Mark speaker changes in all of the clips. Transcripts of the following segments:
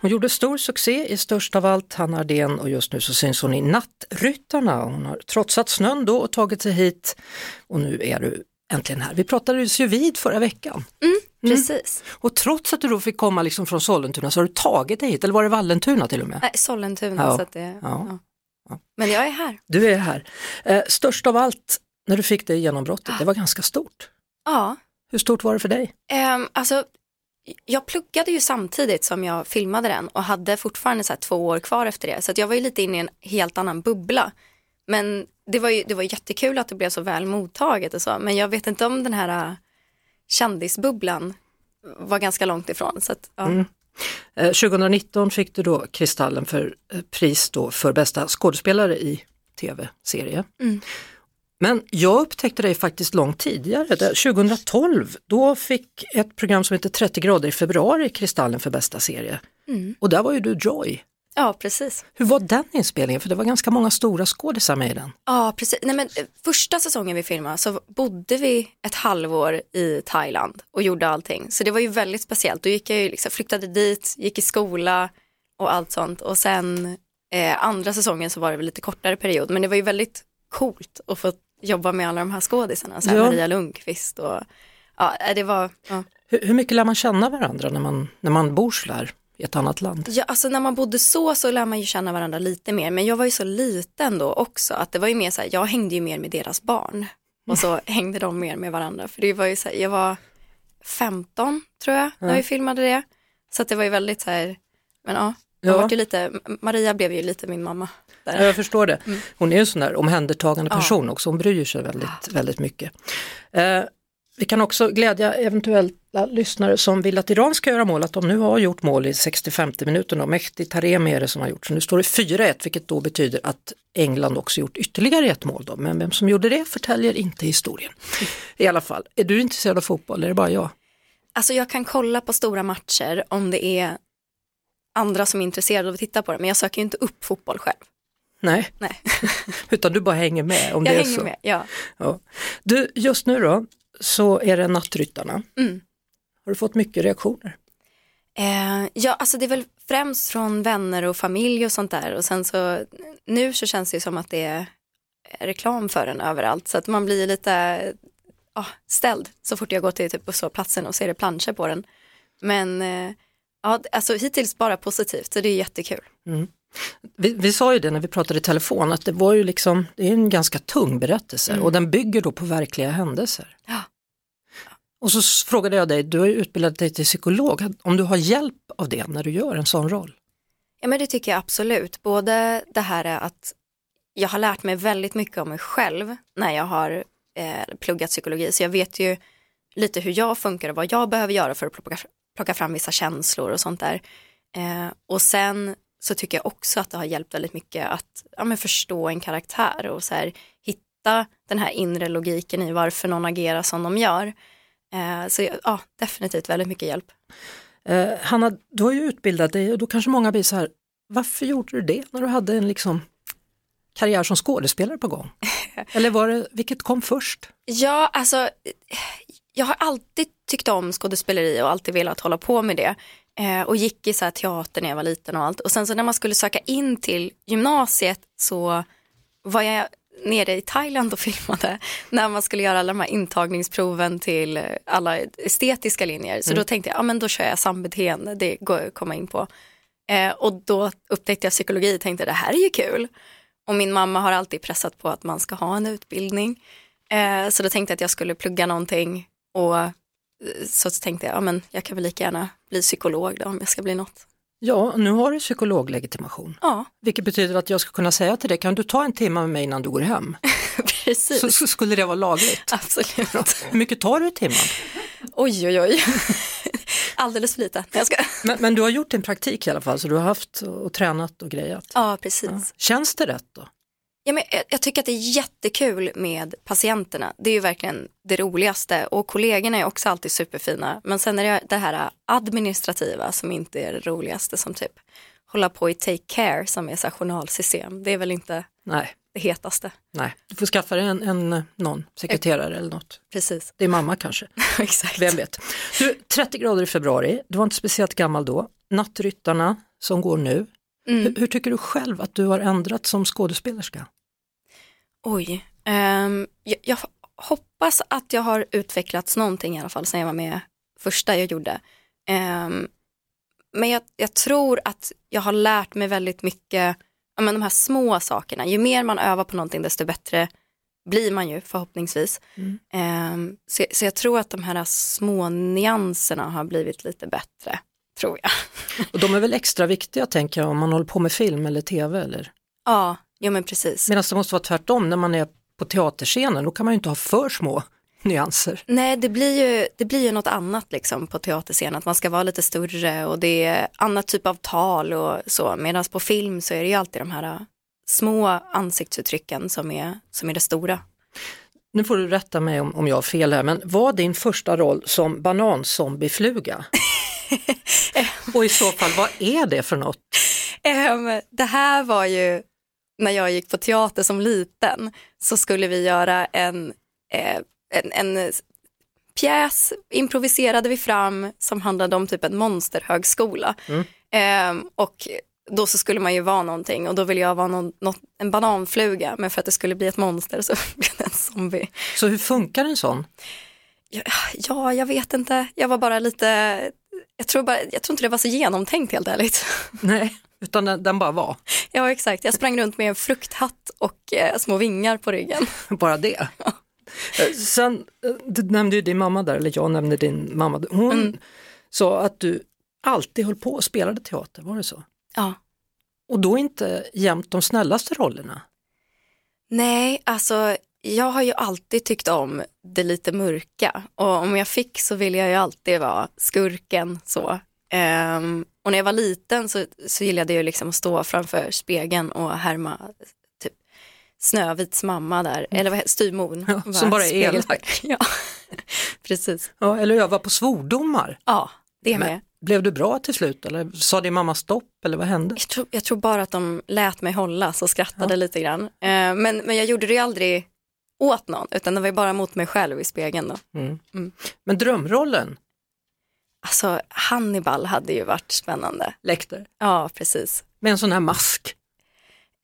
Speaker 1: Hon gjorde stor succé i Störst av allt, Hanna Ardén och just nu så syns hon i Nattryttarna. Hon har trotsat snön då och tagit sig hit och nu är du äntligen här. Vi pratades ju vid förra veckan
Speaker 2: Precis.
Speaker 1: och trots att du då fick komma liksom från Sollentuna så har du tagit dig hit, eller var det Vallentuna till och med?
Speaker 2: Nej, Sollentuna.
Speaker 1: Ja.
Speaker 2: Så att det,
Speaker 1: Ja.
Speaker 2: ja. Men jag är här.
Speaker 1: Du är här. Eh, störst av allt, när du fick det genombrottet, det var ganska stort.
Speaker 2: Ja.
Speaker 1: Hur stort var det för dig?
Speaker 2: Ehm, alltså, jag pluggade ju samtidigt som jag filmade den och hade fortfarande så här två år kvar efter det. Så att jag var ju lite inne i en helt annan bubbla. Men det var ju det var jättekul att det blev så väl mottaget och så. Men jag vet inte om den här äh, kändisbubblan var ganska långt ifrån. Så att, ja.
Speaker 1: Eh, 2019 fick du då Kristallen för eh, pris då för bästa skådespelare i tv-serie. Men jag upptäckte dig faktiskt långt tidigare, där 2012, då fick ett program som heter 30 grader i februari Kristallen för bästa serie. Och där var ju du Joy.
Speaker 2: ja, precis.
Speaker 1: Hur var den inspelningen? För det var ganska många stora skådisar med i den.
Speaker 2: Ja, precis. Nej, men, eh, första säsongen vi filmade så bodde vi ett halvår i Thailand och gjorde allting. Så det var ju väldigt speciellt. Då gick jag ju liksom, flyttade dit, gick i skola och allt sånt. Och sen eh, andra säsongen så var det väl lite kortare period. Men det var ju väldigt coolt att få jobba med alla de här skådisarna. Så här,
Speaker 1: Ja.
Speaker 2: Maria Lundqvist och ja, eh, det var... Ja.
Speaker 1: Hur, hur mycket lär man känna varandra när man, när man bor så där i ett annat land?
Speaker 2: Ja, alltså när man bodde så så lär man ju känna varandra lite mer. Men jag var ju så liten då också att det var ju mer så här, jag hängde ju mer med deras barn. Och så hängde de mer med varandra. För det var ju så här, jag var 15 tror jag när vi filmade det. Så att det var ju väldigt så här, men ja.
Speaker 1: Ja.
Speaker 2: Jag vart ju lite, Maria blev ju lite min mamma.
Speaker 1: Ja,
Speaker 2: Där.
Speaker 1: jag förstår det.
Speaker 2: Mm.
Speaker 1: Hon är ju en sån där omhändertagande person också, hon bryr sig väldigt, väldigt mycket. Eh, vi kan också glädja eventuella lyssnare som vill att Iran ska göra mål, att de nu har gjort mål i 65 minuten och Mehdi Taremi är det som har gjort, så nu står det 4-1 vilket då betyder att England också gjort ytterligare ett mål då, men vem som gjorde det förtäljer inte historien.
Speaker 2: Mm.
Speaker 1: I alla fall, är du intresserad av fotboll, är det bara jag?
Speaker 2: Alltså jag kan kolla på stora matcher om det är andra som är intresserade av att titta på det. Men jag söker ju inte upp fotboll själv.
Speaker 1: Nej,
Speaker 2: Nej,
Speaker 1: utan du bara hänger med om
Speaker 2: jag
Speaker 1: det är
Speaker 2: hänger
Speaker 1: så.
Speaker 2: med. Ja.
Speaker 1: Ja. Du, just nu då så är det Nattryttarna. Har du fått mycket reaktioner?
Speaker 2: Eh, ja, alltså det är väl främst från vänner och familj och sånt där och sen så nu så känns det ju som att det är reklam för den överallt så att man blir lite ah, ställd så fort jag går till typ busshållplatsen och ser det planscher på den. Men eh, ja, d- alltså hittills bara positivt så det är jättekul.
Speaker 1: Vi, vi sa ju det när vi pratade i telefon att det var ju liksom, det är en ganska tung berättelse och den bygger då på verkliga händelser.
Speaker 2: Ja.
Speaker 1: Och så s- frågade jag dig, du har ju utbildat dig till psykolog, om du har hjälp av det när du gör en sån roll?
Speaker 2: Ja men det tycker jag absolut. Både det här är att jag har lärt mig väldigt mycket om mig själv när jag har eh, pluggat psykologi. Så jag vet ju lite hur jag funkar och vad jag behöver göra för att plocka, plocka fram vissa känslor och sånt där. Eh, och sen så tycker jag också att det har hjälpt väldigt mycket att ja, men förstå en karaktär och så här, hitta den här inre logiken i varför någon agerar som de gör. Eh, så ja, definitivt väldigt mycket hjälp.
Speaker 1: Eh, Hanna, du har ju utbildat dig och då kanske många blir så här, varför gjorde du det när du hade en liksom karriär som skådespelare på gång? Eller var det, vilket kom först?
Speaker 2: Ja, alltså eh, jag har alltid tyckt om skådespeleri och alltid velat hålla på med det. Eh, och gick i så här teater när jag var liten och allt. Och sen så när man skulle söka in till gymnasiet så var jag nere i Thailand och filmade när man skulle göra alla de här intagningsproven till eh, alla estetiska linjer. Så då tänkte jag, ja men då kör jag sambeteende, det går jag att komma in på. Eh, och då upptäckte jag psykologi och tänkte det här är ju kul. Och min mamma har alltid pressat på att man ska ha en utbildning. Eh, så då tänkte jag att jag skulle plugga någonting och eh, så tänkte jag, ja men jag kan väl lika gärna bli psykolog då om jag ska bli något.
Speaker 1: Ja, nu har du psykologlegitimation.
Speaker 2: Ja,
Speaker 1: Vilket betyder att jag ska kunna säga till dig, kan du ta en timme med mig innan du går hem?
Speaker 2: precis.
Speaker 1: Så, så skulle det vara lagligt.
Speaker 2: Absolut.
Speaker 1: Hur mycket tar du i timmen?
Speaker 2: Oj, oj, oj. Alldeles för lite. Jag ska...
Speaker 1: Men, men du har gjort din praktik i alla fall, så du har haft och, och tränat och grejat.
Speaker 2: Ja, precis.
Speaker 1: Känns det rätt då?
Speaker 2: Ja, men eh, jag, jag tycker att det är jättekul med patienterna. Det är ju verkligen det roligaste och kollegorna är också alltid superfina. Men sen är det det här eh, administrativa som inte är det roligaste som typ hålla på i take care som är så här journalsystem. Det är väl inte
Speaker 1: Nej,
Speaker 2: det hetaste.
Speaker 1: nej. Du får skaffa dig en, en någon sekreterare eller något.
Speaker 2: Precis,
Speaker 1: Det är mamma kanske,
Speaker 2: exakt.
Speaker 1: vem vet. Du, 30 grader i februari, du var inte speciellt gammal då. Nattryttarna som går nu.
Speaker 2: Mm.
Speaker 1: Hur, hur tycker du själv att du har ändrat som skådespelerska?
Speaker 2: Oj, ehm, jag, jag hoppas att jag har utvecklats någonting i alla fall sen jag var med första jag gjorde. Ehm, men jag, jag tror att jag har lärt mig väldigt mycket, ja, men de här små sakerna. Ju mer man övar på någonting desto bättre blir man ju förhoppningsvis. Ehm, så, så jag tror att de här små nyanserna har blivit lite bättre, tror jag.
Speaker 1: Och de är väl extra viktiga tänker jag om man håller på med film eller tv eller?
Speaker 2: ja, jo men precis.
Speaker 1: Medan det måste vara tvärtom när man är på teaterscenen, då kan man ju inte ha för små nyanser.
Speaker 2: Nej, det blir, ju, det blir ju något annat liksom på teaterscenen, att man ska vara lite större och det är annat typ av tal och så, medan på film så är det ju alltid de här äh, små ansiktsuttrycken som är, som är det stora.
Speaker 1: Nu får du rätta mig om, om jag har fel här, men var din första roll som bananzombiefluga? Och i så fall, vad är det för något?
Speaker 2: Ehm, det här var ju när jag gick på teater som liten så skulle vi göra en, eh, en, en pjäs, improviserade vi fram som handlade om typ en monsterhögskola. Ehm, och då så skulle man ju vara någonting och då ville jag vara någon, något, en bananfluga men för att det skulle bli ett monster så blev det en zombie.
Speaker 1: Så hur funkar en sån?
Speaker 2: Ja, ja, jag vet inte, jag var bara lite, jag tror, bara, jag tror inte det var så genomtänkt helt ärligt.
Speaker 1: Nej, utan den, den bara var,
Speaker 2: Ja exakt, jag sprang runt med en frukthatt och eh, små vingar på ryggen.
Speaker 1: bara det. Eh, Sen, eh, du nämnde ju din mamma där, eller jag nämnde din mamma, hon sa att du alltid höll på och spelade teater, var det så?
Speaker 2: Ja.
Speaker 1: Och då inte jämt de snällaste rollerna?
Speaker 2: Nej, alltså jag har ju alltid tyckt om det lite mörka och om jag fick så ville jag ju alltid vara skurken så. Ehm, och när jag var liten så, så gillade jag ju liksom att stå framför spegeln och härma typ Snövits mamma där, eller vad heter styvmodern.
Speaker 1: Ja, som bara är
Speaker 2: spegel-
Speaker 1: elak.
Speaker 2: Ja, precis.
Speaker 1: Ja, eller öva på svordomar.
Speaker 2: Ja, det med.
Speaker 1: Blev du bra till slut eller sa din mamma stopp eller vad hände?
Speaker 2: Jag tror, jag tror bara att de lät mig hålla så skrattade lite grann. Eh, men, men jag gjorde det ju aldrig åt någon utan det var ju bara mot mig själv i spegeln då.
Speaker 1: Men drömrollen,
Speaker 2: Alltså Hannibal hade ju varit spännande.
Speaker 1: Lecter,
Speaker 2: Ja, precis.
Speaker 1: med en sån här mask.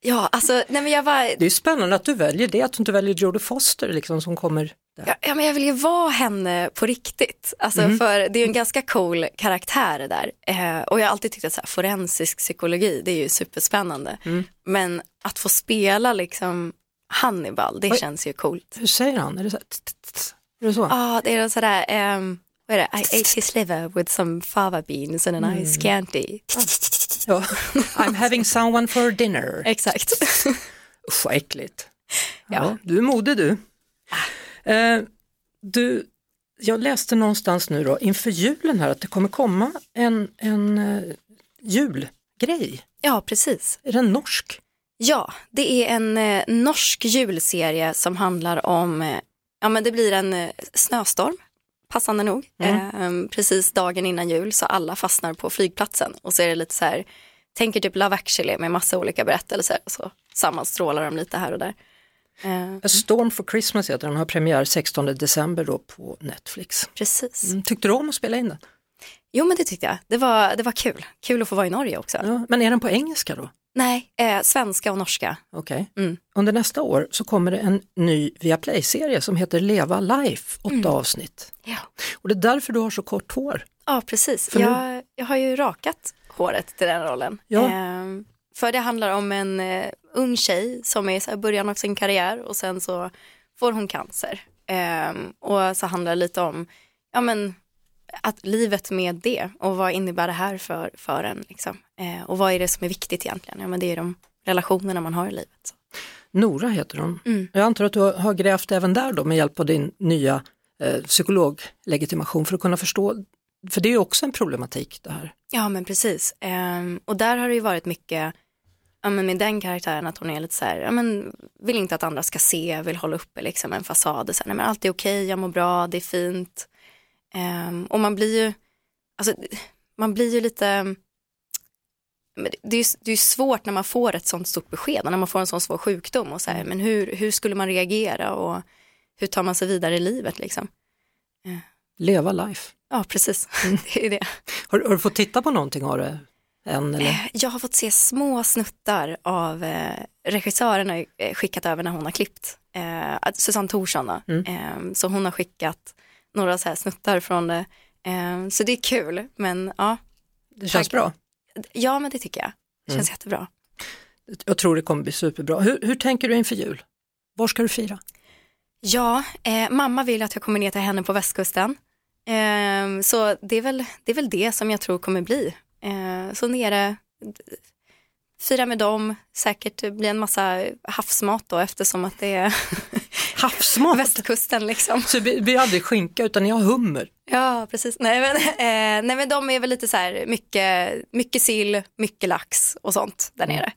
Speaker 2: Ja, alltså nej men jag var,
Speaker 1: Det är ju spännande att du väljer det, att du inte väljer Jodie Foster liksom som kommer där.
Speaker 2: ja, ja, men jag vill ju vara henne på riktigt. Alltså för det är ju en ganska cool karaktär det där. Eh, och jag har alltid tyckt att så här, forensisk psykologi, det är ju superspännande. Men att få spela liksom Hannibal, det
Speaker 1: Oj.
Speaker 2: känns ju coolt.
Speaker 1: Hur säger han? Är det så? Här, tss, tss, tss? är det så?
Speaker 2: Ja, Ah, det är sådär, um, vad är det, I ate his liver with some fava beans and an ice candy.
Speaker 1: Ja. I'm having someone for dinner.
Speaker 2: Exakt.
Speaker 1: Usch vad äckligt. Ja, du är modig du. Eh, du. Jag läste någonstans nu då inför julen här att det kommer komma en, en eh, julgrej.
Speaker 2: ja, precis.
Speaker 1: Är den norsk?
Speaker 2: Ja, det är en eh, norsk julserie som handlar om, eh, ja men det blir en eh, snöstorm, passande nog, ehm, precis dagen innan jul så alla fastnar på flygplatsen och så är det lite så här, tänker typ Love actually med massa olika berättelser och så sammanstrålar de lite här och där. Eh,
Speaker 1: A Storm for Christmas heter den, har premiär 16 december då på Netflix.
Speaker 2: precis.
Speaker 1: Mm, Tyckte du om att spela in den?
Speaker 2: Jo men det tyckte jag, det var, det var kul. Kul att få vara i Norge också.
Speaker 1: Ja, men är den på engelska då?
Speaker 2: Nej, eh, svenska och norska.
Speaker 1: Okej.
Speaker 2: Mm.
Speaker 1: Under nästa år så kommer det en ny Viaplay-serie som heter Leva Life, åtta avsnitt.
Speaker 2: Ja,
Speaker 1: Och det är därför du har så kort hår.
Speaker 2: ja precis.
Speaker 1: För nu-
Speaker 2: Jag, jag har ju rakat håret till den rollen.
Speaker 1: Ja.
Speaker 2: Ehm, för det handlar om en eh, ung tjej som är så här i början av sin karriär och sen så får hon cancer. Ehm, och så handlar det lite om ja, men, att livet med det och vad innebär det här för, för en. Liksom. Eh, och vad är det som är viktigt egentligen? Ja, men det är de relationerna man har i livet. Så. Mm.
Speaker 1: Nora heter hon. Jag antar att du har grävt även där då med hjälp av din nya eh, psykologlegitimation för att kunna förstå. För det är ju också en problematik det här.
Speaker 2: Ja men precis. Ehm, och där har det ju varit mycket, ja, men med den karaktären att hon är lite så här, ja, men vill inte att andra ska se, vill hålla uppe liksom en fasad. Så här, nej, men allt är okej, jag mår bra, det är fint. Ehm, och man blir ju, alltså, man blir ju lite, men det- det är, ju- det är ju svårt när man får ett sånt stort besked, och när man får en sån svår sjukdom och så här, men hur, hur skulle man reagera och hur tar man sig vidare i livet liksom?
Speaker 1: Leva life.
Speaker 2: Ja, precis, det är det.
Speaker 1: Har, har du fått titta på någonting av det än? Eller?
Speaker 2: Eh, Jag har fått se små snuttar av eh, regissören har ju, eh, skickat över när hon har klippt. Eh, att- Susanne Thorsson då. Eh, så hon har skickat några så här snuttar från det. Eh, så det är kul, men ja,
Speaker 1: Det känns
Speaker 2: tack.
Speaker 1: bra.
Speaker 2: ja men det tycker jag. Det känns jättebra.
Speaker 1: Jag tror det kommer bli superbra. Hur, hur tänker du inför jul? Var ska du fira?
Speaker 2: Ja, eh, mamma vill att jag kommer ner till henne på västkusten. Eh, så det är, väl, det är väl det som jag tror kommer bli. Eh, så nere, d- fira med dem, säkert bli en massa havsmat då eftersom att det är
Speaker 1: Havsmat!
Speaker 2: västkusten liksom.
Speaker 1: Så vi, vi har aldrig skinka utan jag har hummer.
Speaker 2: Ja, precis. Nej men, eh, nej, men de är väl lite så här mycket, mycket sill, mycket lax och sånt där nere.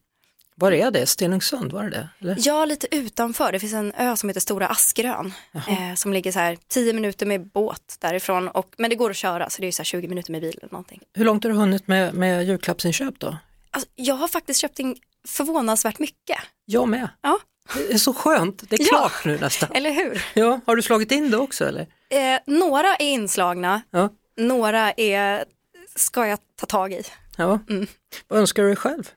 Speaker 1: Var är det? Stenungsund, var det det? Eller?
Speaker 2: Mm. Ja, lite utanför. Det finns en ö som heter Stora Askerön eh, som ligger så här 10 minuter med båt därifrån. Och, men det går att köra så det är så här 20 minuter med bil eller någonting.
Speaker 1: Hur långt har du hunnit med, med julklappsinköp då?
Speaker 2: Alltså, jag har faktiskt köpt in förvånansvärt mycket.
Speaker 1: Jag med.
Speaker 2: Ja,
Speaker 1: Det är så skönt, det är
Speaker 2: Ja.
Speaker 1: klart nu nästan.
Speaker 2: eller hur?
Speaker 1: Ja, har du slagit in det också eller?
Speaker 2: Eh, några är inslagna,
Speaker 1: Ja.
Speaker 2: några är, ska jag ta tag i.
Speaker 1: ja.
Speaker 2: Mm.
Speaker 1: Vad önskar du dig själv?